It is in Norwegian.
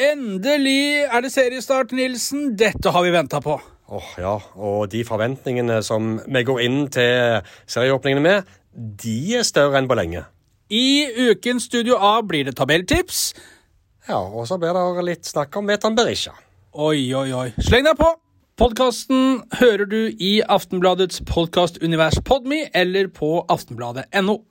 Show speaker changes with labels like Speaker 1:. Speaker 1: Endelig er det seriestart, Nilsen. Dette har vi venta på.
Speaker 2: Åh, ja. Og de forventningene som vi går inn til serieåpningene med, de er større enn på lenge.
Speaker 1: I ukens Studio A blir det tabelltips.
Speaker 2: Ja, og så blir det litt snakk om Vetan Berisha.
Speaker 1: Oi, oi, oi. Sleng deg på! Podkasten hører du i Aftenbladets podkastunivers Podme eller på aftenbladet.no.